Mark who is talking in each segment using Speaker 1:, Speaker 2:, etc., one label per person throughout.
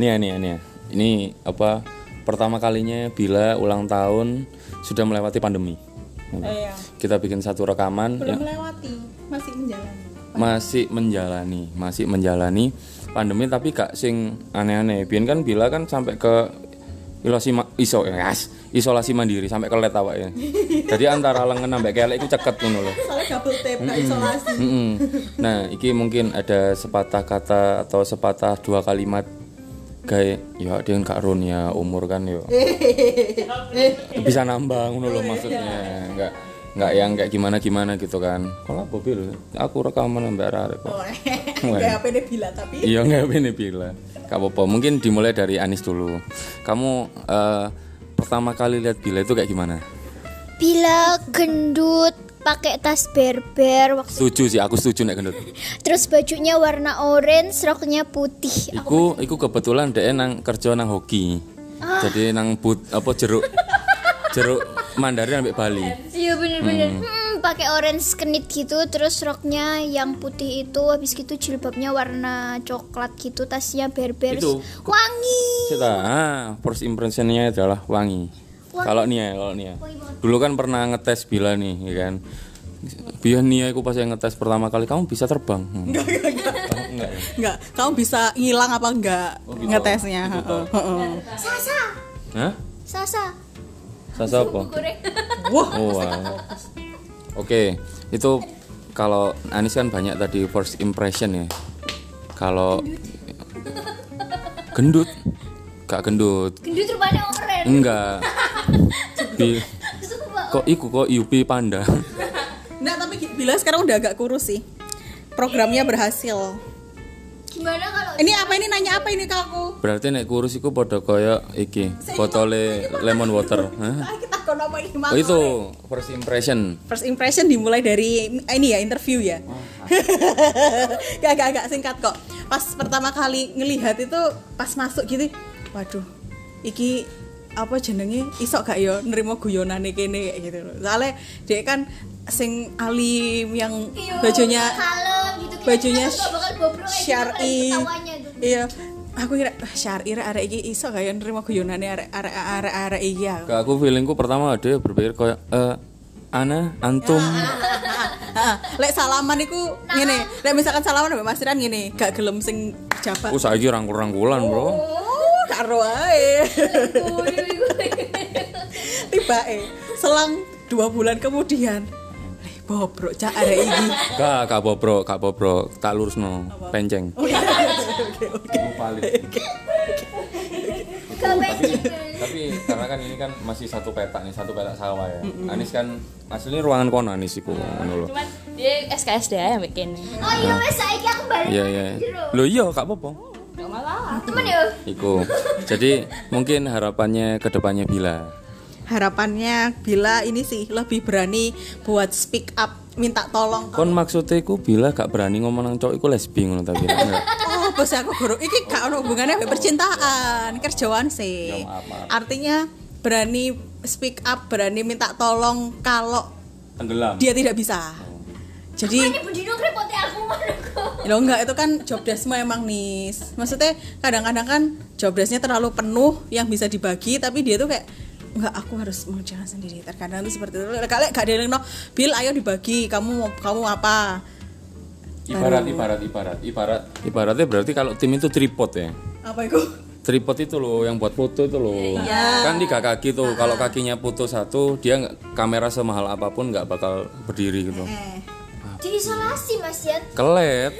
Speaker 1: Nia nia nia. Ini apa pertama kalinya bila ulang tahun sudah melewati pandemi.
Speaker 2: Iya.
Speaker 1: Kita bikin satu rekaman
Speaker 2: Belum
Speaker 1: yang
Speaker 2: melewati, masih menjalani.
Speaker 1: masih menjalani, masih menjalani pandemi tapi gak sing aneh-aneh. Biyen kan bila kan sampai ke isolasi ma- iso yes, isolasi mandiri sampai ke let awake. Jadi antara lengan sampai kelek iku ceket ngono lho.
Speaker 2: Soalnya double tap, gak isolasi.
Speaker 1: Mm-mm. Nah, iki mungkin ada sepatah kata atau sepatah dua kalimat kayak ya dia nggak run ya umur kan yo bisa nambah ngono loh maksudnya nggak nggak yang kayak gimana gimana gitu kan kalau Bobi lho, aku rekaman mbak Rarek kok.
Speaker 2: Boleh.
Speaker 1: Wah.
Speaker 2: Gak apa deh bila tapi
Speaker 1: iya nggak ini bila Gak apa-apa mungkin dimulai dari Anis dulu kamu eh, pertama kali lihat Bila itu kayak gimana
Speaker 3: Bila gendut pakai tas berber waktu
Speaker 1: setuju sih aku setuju nek gendut
Speaker 3: terus bajunya warna orange roknya putih
Speaker 1: Iku iku kebetulan dhek nang kerja nang hoki.
Speaker 2: Ah.
Speaker 1: Jadi nang but apa jeruk jeruk Mandarin sampai Bali.
Speaker 3: iya bener-bener hmm, pakai orange kenit gitu terus roknya yang putih itu habis gitu jilbabnya warna coklat gitu tasnya berber
Speaker 1: Itu.
Speaker 3: wangi
Speaker 1: Kita ah, first impressionnya adalah wangi. Kalau Nia, kalau Nia. Dulu kan pernah ngetes bila nih, ya kan. Biar Nia aku pas yang ngetes pertama kali kamu bisa terbang. Hmm.
Speaker 2: enggak enggak enggak. Enggak, kamu bisa ngilang apa enggak
Speaker 1: Oh, gitu.
Speaker 2: ngetesnya? Heeh, heeh.
Speaker 3: sasa
Speaker 1: Hah?
Speaker 3: sasa
Speaker 1: Sasa apa?
Speaker 2: Wah,
Speaker 1: Oh, wow. Oke, itu kalau Anis kan banyak tadi first impression ya. Kalau gendut, gak gendut,
Speaker 3: gendut rupanya orange
Speaker 1: enggak. Bi- kok iku kok Yupi Panda.
Speaker 2: Nggak, tapi bila sekarang udah agak kurus sih. Programnya berhasil.
Speaker 3: gimana kalau
Speaker 2: Ini apa ini nanya apa ini ke aku?
Speaker 1: Berarti nek kurus iku padha kaya iki, botole lemon water. Hah?
Speaker 2: Ah, kita kon apa ini
Speaker 1: Oh,
Speaker 2: Mas?
Speaker 1: itu first impression.
Speaker 2: First impression dimulai dari eh, ini ya interview ya. gak gak gak singkat kok. Pas pertama kali ngelihat itu pas masuk gitu, waduh, iki apa jenenge isok gak yo nerima guyonane kene kayak gitu loh. Soalnya dia kan sing alim yang bajunya
Speaker 3: Iya, kalem gitu Kita
Speaker 2: bajunya
Speaker 3: tuh nggak bakal bobrok kayak gitu, paling
Speaker 2: syari
Speaker 3: ketawanya gitu. tuh.
Speaker 2: iya aku kira "Ah, syari rek, arek iki iso kaya nerima guyonane arek arek arek arek iki ya
Speaker 1: Gak aku feelingku pertama dia berpikir kaya eh ana antum
Speaker 2: Ya. Heeh, lek salaman iku ngene lek misalkan salaman mbak Mas Rian ngene gak gelem sing jabat
Speaker 1: Oh saiki rangkul-rangkulan, Bro.
Speaker 2: oh karo ae tiba selang dua bulan kemudian "Leh, bobrok cak arek iki
Speaker 1: Gak, gak bobrok, gak bobrok. Tak lurusno, penceng.
Speaker 2: oke oke
Speaker 3: gitu.
Speaker 1: Tapi karena kan ini kan masih satu petak nih, satu petak sawah ya. Anis kan aslinya ruangan kono Anis iku ngono lho.
Speaker 4: Cuman dia SKSDA ya bikin.
Speaker 3: oh iya wes saiki aku balik
Speaker 1: Iya, iya. Lho iya, gak apa-apa.
Speaker 4: Gak malah.
Speaker 3: temen ya
Speaker 1: Iku. Jadi mungkin harapannya ke depannya Bila.
Speaker 2: harapannya bila ini sih lebih berani buat speak up minta tolong
Speaker 1: Kon maksudnya iku Bila gak berani ngomong nang cowok iku lesbi ngono ta Bila. Enggak.
Speaker 2: Oh, bos aku guru. Iki gak ono hubungannya sama percintaan, kerjaan sih.
Speaker 1: Ya, maaf, maaf.
Speaker 2: Artinya berani speak up, berani minta tolong kalau
Speaker 1: Tenggelam.
Speaker 2: dia tidak bisa. Jadi
Speaker 3: Bu Dino repotnya aku ngono kok.
Speaker 2: lo enggak itu kan job deskmu emang nih. Maksudnya kadang-kadang kan job desknya terlalu penuh yang bisa dibagi, tapi dia tuh kayak enggak aku harus mengerjakan sendiri. Terkadang tuh seperti itu. Kalau gak ada yang no, Bill ayo dibagi. Kamu kamu apa?
Speaker 1: Ibarat ibarat ibarat ibarat. Ibaratnya berarti kalau tim itu tripod ya.
Speaker 2: Apa itu?
Speaker 1: tripod itu loh yang buat foto itu loh
Speaker 2: Iya.
Speaker 1: kan tiga kaki tuh kalau kakinya putus satu dia nggak- kamera semahal apapun nggak bakal berdiri gitu
Speaker 2: Eh.
Speaker 3: Diisolasi Mas ya. Yan.
Speaker 1: kelet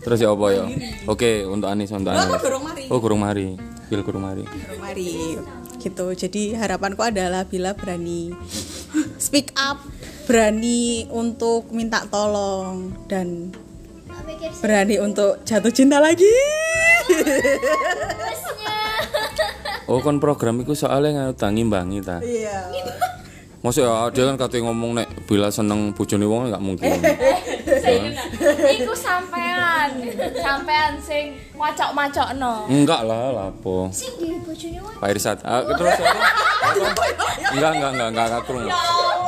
Speaker 1: terus ya apa ya oke untuk Anis untuk
Speaker 2: Aku
Speaker 1: Anis
Speaker 2: dorong mari.
Speaker 1: oh kurung mari bil kurung mari
Speaker 2: Mari gitu. Jadi harapanku adalah bila berani speak up, berani untuk minta tolong dan
Speaker 3: Tak pikir sih,
Speaker 2: berani untuk jatuh cinta lagi.
Speaker 3: Masnya.
Speaker 1: oh kon program itu soalnya nggak tangi bangi ta
Speaker 2: Iya.
Speaker 1: maksudnya dia kan katanya ngomong nek bila seneng bojone wong nggak mungkin
Speaker 4: Iku sampean. Sampean sing macok-macokno.
Speaker 1: enggak lah lapo
Speaker 3: Sing di bojone wae.
Speaker 4: Ya
Speaker 1: Pak Irsat ah, terus apa? enggak enggak enggak enggak enggak kurung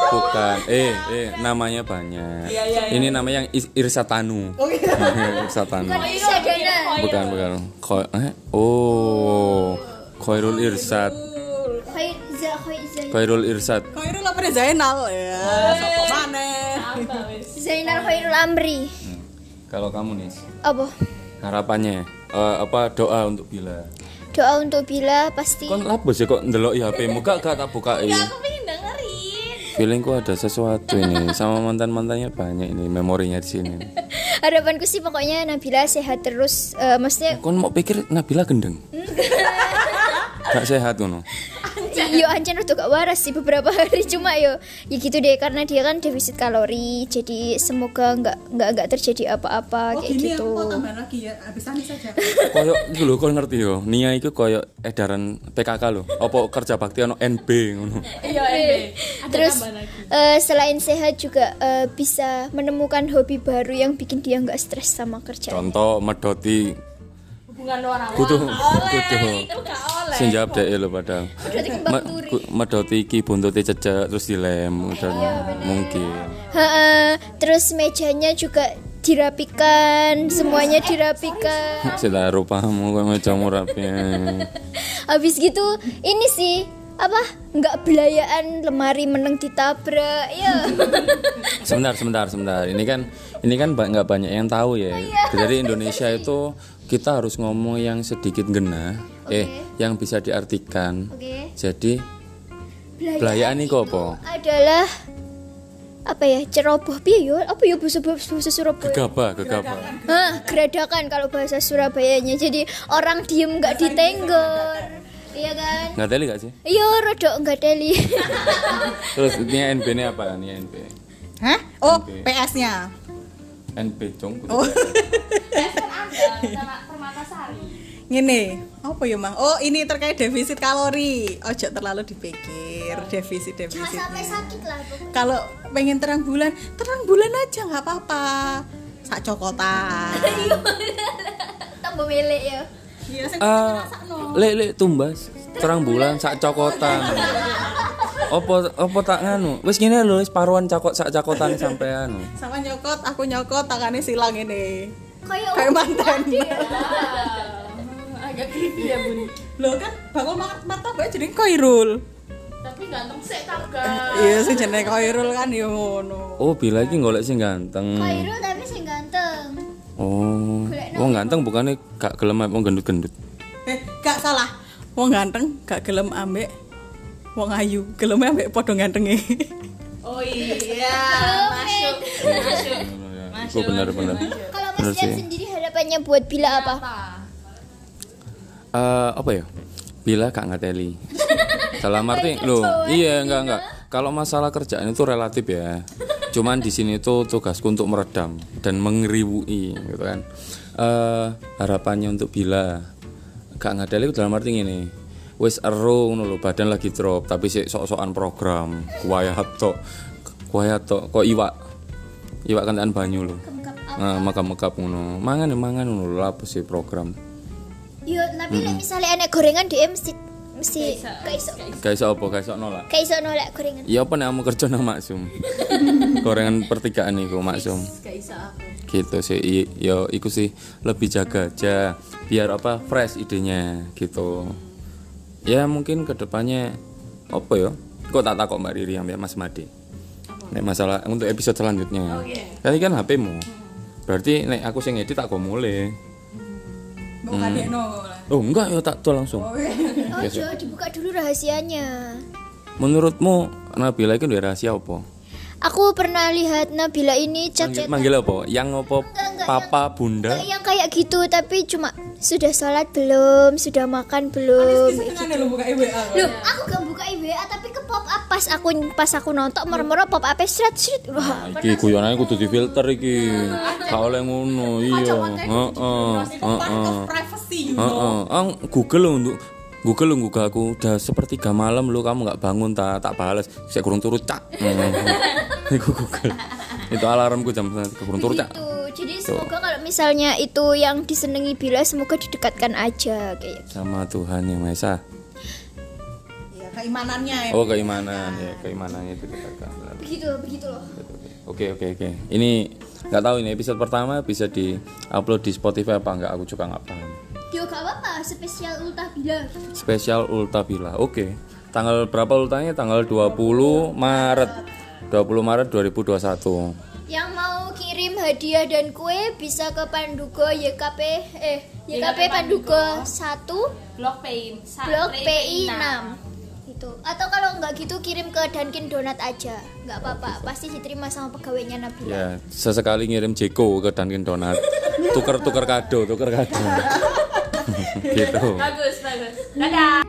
Speaker 1: bukan. Eh, eh, namanya banyak.
Speaker 4: Iya, iya, iya.
Speaker 1: Ini namanya yang Is- Irsatanu.
Speaker 2: Oh gitu.
Speaker 1: Irsatanu.
Speaker 4: iya,
Speaker 3: Sedana.
Speaker 1: Bukan, bukan. Ko- eh, oh. Khairul Irsat.
Speaker 3: Khoi- za khoi- za-
Speaker 1: Khairul Irsat.
Speaker 2: Kau itu lapar Zainal ya. Sopo maneh.
Speaker 3: Zainal Khairul Amri.
Speaker 1: Kalau kamu nih
Speaker 3: Apa?
Speaker 1: harapannya eh, apa doa untuk Bila?
Speaker 3: Doa untuk Bila pasti.
Speaker 1: Kon lapus ya kok ndelok ya HP-mu gak gak tak bukain.
Speaker 4: Aku pengen dengerin.
Speaker 1: Feelingku ada sesuatu ini sama mantan-mantannya banyak ini memorinya di sini.
Speaker 3: Harapanku sih pokoknya Nabila sehat terus. Eh, maksudnya
Speaker 1: Kon mau pikir Nabila gendeng? Gak sehat kono.
Speaker 3: yo ancen rada gak waras sih beberapa hari cuma yo ya gitu deh karena dia kan defisit kalori. Jadi semoga nggak nggak nggak terjadi
Speaker 2: Oh
Speaker 3: apa-apa kayak
Speaker 2: gini
Speaker 3: gitu.
Speaker 2: aku mau tambahan lagi ya. Habis tadi saja.
Speaker 1: Koyok iku lho kon ngerti yo. Nia iku koyok edaran PKK lho. Apa kerja bakti ono NB ngono.
Speaker 4: Iya, Embe.
Speaker 3: Terus eh, selain sehat juga eh, bisa menemukan hobi baru yang bikin dia nggak stres sama kerjaan.
Speaker 1: Contoh medoti
Speaker 4: Hubungan orang.
Speaker 1: kudu kudu
Speaker 4: Itu gak oleh.
Speaker 1: sing jawab dhek lho padahal.
Speaker 3: Berarti kembang
Speaker 1: Me-
Speaker 3: turi.
Speaker 1: ku- Medoti iki buntute cecek terus dilem dan mungkin.
Speaker 3: Ha-ha, terus mejanya juga dirapikan, semuanya dirapikan.
Speaker 1: Sila rupamu kok mejamu rapi.
Speaker 3: Habis gitu ini sih apa nggak belayaan lemari meneng ditabrak ya
Speaker 1: Sebentar, sebentar, sebentar. Ini kan ini kan ba- nggak banyak yang tahu ya. Jadi Indonesia itu kita harus ngomong yang sedikit ngena, eh yang bisa diartikan.
Speaker 3: Oke.
Speaker 1: Jadi belayaan ini kok apa?
Speaker 3: adalah apa ya ceroboh piye yo apa ya bahasa bahasa Surabaya
Speaker 1: Gegabah, gegabah.
Speaker 3: Hah, geradakan kalau bahasa Surabayanya jadi orang diem nggak ditenggor iya kan
Speaker 1: Nggak teli nggak sih?
Speaker 3: Yo rodok nggak deli
Speaker 1: Terus ini NB ini apa? Ini NB.
Speaker 2: Hah? Oh,
Speaker 1: Oke.
Speaker 2: PS-nya.
Speaker 1: NB dong.
Speaker 2: Ngene, apa ya, Mang? Oh, ini terkait defisit kalori. Ojo terlalu dipikir defisit defisit.
Speaker 3: sakit lah
Speaker 2: Kalau pengen terang bulan, terang bulan aja nggak apa-apa. Sak cokotan.
Speaker 3: Iya. tambah melek ya
Speaker 2: Iya, sing
Speaker 1: Ah, lek lek tumbas terang bulan sak cokotan. Opo opo tak nganu. Wis ngene lho, wis paruan cakot sak cokotan sampean.
Speaker 2: sama nyokot, aku nyokot tangannya silang ini.
Speaker 3: kayak
Speaker 2: Kayak mantan.
Speaker 3: Iya.
Speaker 4: Agak creepy ya, Bun.
Speaker 2: Loh kan bakul mar- martabak jadi koirul.
Speaker 4: Tapi ganteng sih tangga.
Speaker 2: Iya, sing jenenge koirul kan yo ngono.
Speaker 1: Oh, Bila iki golek sing ganteng.
Speaker 3: Khairul tapi sing ganteng
Speaker 1: Oh, wong ganteng bukannya gak gelem apa wong gendut-gendut.
Speaker 2: Eh, gak salah. Wong ganteng gak gelem ambek wong ayu, gelem ambek podo gantenge.
Speaker 4: Oh iya, masuk.
Speaker 1: Iku
Speaker 4: Masuk.
Speaker 1: bener-bener.
Speaker 3: kalau
Speaker 1: Bener
Speaker 3: Mas Jan
Speaker 1: sih.
Speaker 3: sendiri harapannya buat Bila apa
Speaker 1: Eh, apa ya? Bila gak ngateli. Dalam arti loh, iya enggak enggak. Kalau masalah kerjaan itu relatif ya. Cuman di sini itu tugasku untuk meredam dan mengeriwui gitu kan. Eh, harapannya untuk Bila gak ngateli dalam arti ini. Wis ero ngono lho, badan lagi drop tapi sik sok-sokan program. Kuayah tok. Kuayah tok kok iwak. Iwak kentaan banyu lho. Nah, mekap-mekap ngono. Mangan ya mangan ngono lho apa sih program.
Speaker 3: Yo, tapi lek misalnya enek gorengan dia mesti mesti kaiso
Speaker 1: Gak iso apa, gak iso nolak.
Speaker 3: kaiso nolak gorengan.
Speaker 1: Ya apa nek kamu kerja nang maksum. Gorengan pertigaan iku maksum.
Speaker 4: Gak bisa aku.
Speaker 1: Gitu sih. i- Yo iku sih lebih jaga aja biar apa fresh idenya gitu. Ya mungkin kedepannya apa ya? Kok tak takok Mbak Riri sampe Mas Made. Nek masalah untuk episode selanjutnya. Tadi kan HP-mu. Berarti nek aku sing edit tak go mulai.
Speaker 2: Mau kadekno kok lah.
Speaker 1: Oh enggak ya tak tuh langsung.
Speaker 3: Oh, Jo, dibuka dulu rahasianya.
Speaker 1: Menurutmu Nabila itu duwe rahasia apa?
Speaker 3: Aku pernah lihat Nabila ini
Speaker 1: Manggil,
Speaker 3: cacat
Speaker 1: manggil apa? Yang apa?
Speaker 3: enggak,
Speaker 1: Papa, Bunda.
Speaker 3: yang kayak gitu, tapi cuma sudah sholat belum, sudah makan belum.
Speaker 2: Tengane lho buka WA.
Speaker 3: Loh, aku gak buka IWA tapi ke pop up pas aku pas aku nonton merem-merem pop up seret seret. Wah,
Speaker 1: Iki guyonane kudu difilter iki. Gak oleh ngono, iya. Heeh. Heeh.
Speaker 2: Privacy
Speaker 1: Oh.
Speaker 2: you know.
Speaker 1: Heeh. Ang Google lho untuk Google lho Google aku udah sepertiga malam lu kamu nggak bangun tak tak balas. Saya kurung turu cak. Heeh. Iku Google. Itu alarmku jam kurung turu cak.
Speaker 3: gitu. Jadi semoga kalau misalnya itu yang disenangi Bila semoga didekatkan aja kayak gitu.
Speaker 1: Sama Tuhan yang Maha Esa.
Speaker 2: Iya, kayak keimanannya ya.
Speaker 1: Oh keimanan ya keimanannya itu ditekan. Benar.
Speaker 3: begitu begitu loh
Speaker 1: Oke oke oke. Ini nggak tahu ini episode pertama bisa di upload di Spotify apa nggak? Aku juga nggak paham.
Speaker 3: yo gak apa-apa spesial ultah bila
Speaker 1: Spesial Ultabila. Oke. Tanggal berapa ultahnya? Tanggal 20 Maret. 20 Maret 2021.
Speaker 3: yang mau kirim hadiah dan kue bisa ke Pandugo YKP eh YKP Pandugo 1
Speaker 4: Blok PI
Speaker 3: Blok PI 6 itu atau kalau nggak gitu kirim ke Dunkin Donat aja nggak apa-apa pasti diterima sama pegawainya Nabila
Speaker 1: Ya, sesekali ngirim Jeko ke Dunkin Donat. Tuker-tuker kado, tuker kado. gitu.
Speaker 4: Bagus, bagus. Dadah.